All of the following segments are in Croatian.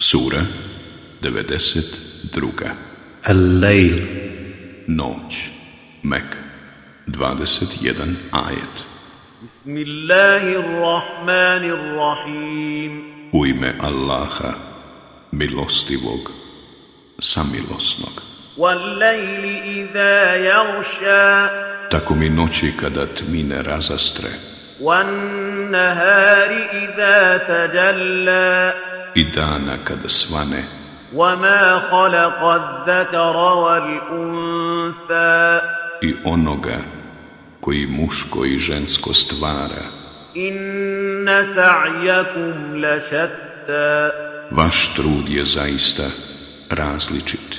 Sura 92. الليل Noć. Mek. 21 ajet. بسم الله الرحمن الرحيم U ime Allaha, milostivog, samilosnog. والليل إذا يغشى Tako mi noći kada tmine razastre والنهار إذا تجلى i dana kada svane, وما خلق الذكر والأنثى i onoga koji muško i žensko stvara, إن سعيكم لشتى vaš trud je zaista različit.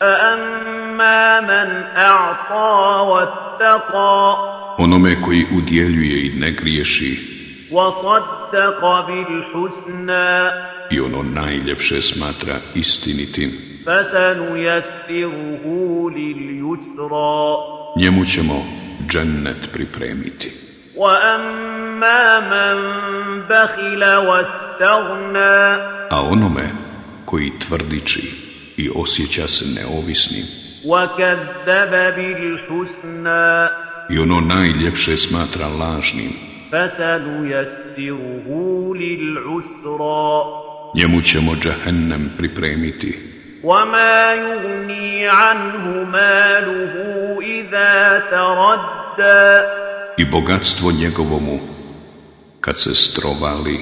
فأما من أعطى واتقى Onome koji udjeljuje i ne griješi وصدق بالحسنى i ono najljepše smatra istinitim, فسنيسره لليسرى njemu ćemo džennet pripremiti. وأما من بخل واستغنى A onome koji tvrdiči i osjeća se neovisnim وكذب بالحسنى i ono najljepše smatra lažnim, فسنيسره للعسرى njemu ćemo džahennem pripremiti. وما يغني عنه ماله إذا تردى I bogatstvo njegovomu, kad se strovali,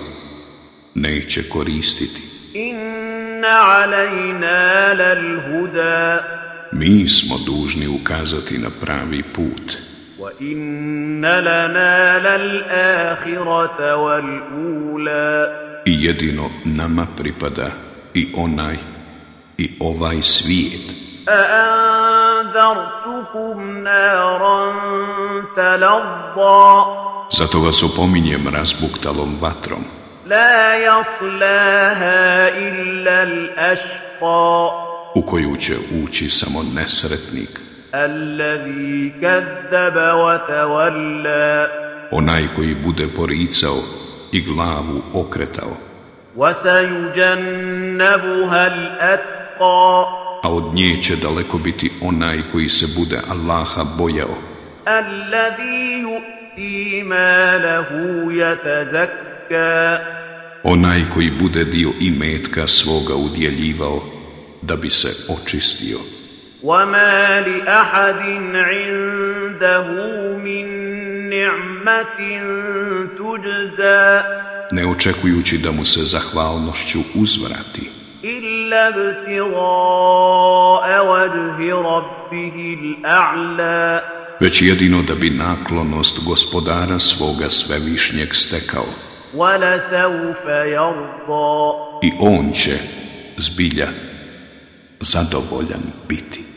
neće koristiti. إن علينا للهدى Mi smo dužni ukazati na pravi put. وإن لنا للآخرة والأولى I jedino nama pripada i onaj i ovaj svijet. أأنذرتكم نارا تلظى Zato vas opominjem razbuktalom vatrom, لا يصلاها إلا الأشقى u koju će ući samo nesretnik, الذي كذب وتولى onaj koji bude poricao i glavu okretao, وسيجنبها الأتقى a od nje će daleko biti onaj koji se bude Allaha bojao, الذي يؤتي ماله يتزكى onaj koji bude dio imetka svoga udjeljivao da bi se očistio. وما لأحد عنده من نعمة تجزى ne očekujući da mu se zahvalnošću uzvrati, إلا ابتغاء وجه ربه الأعلى već jedino da bi naklonost gospodara svoga svevišnjeg stekao. ولسوف يرضى I on će, zbilja, zadovoljan biti.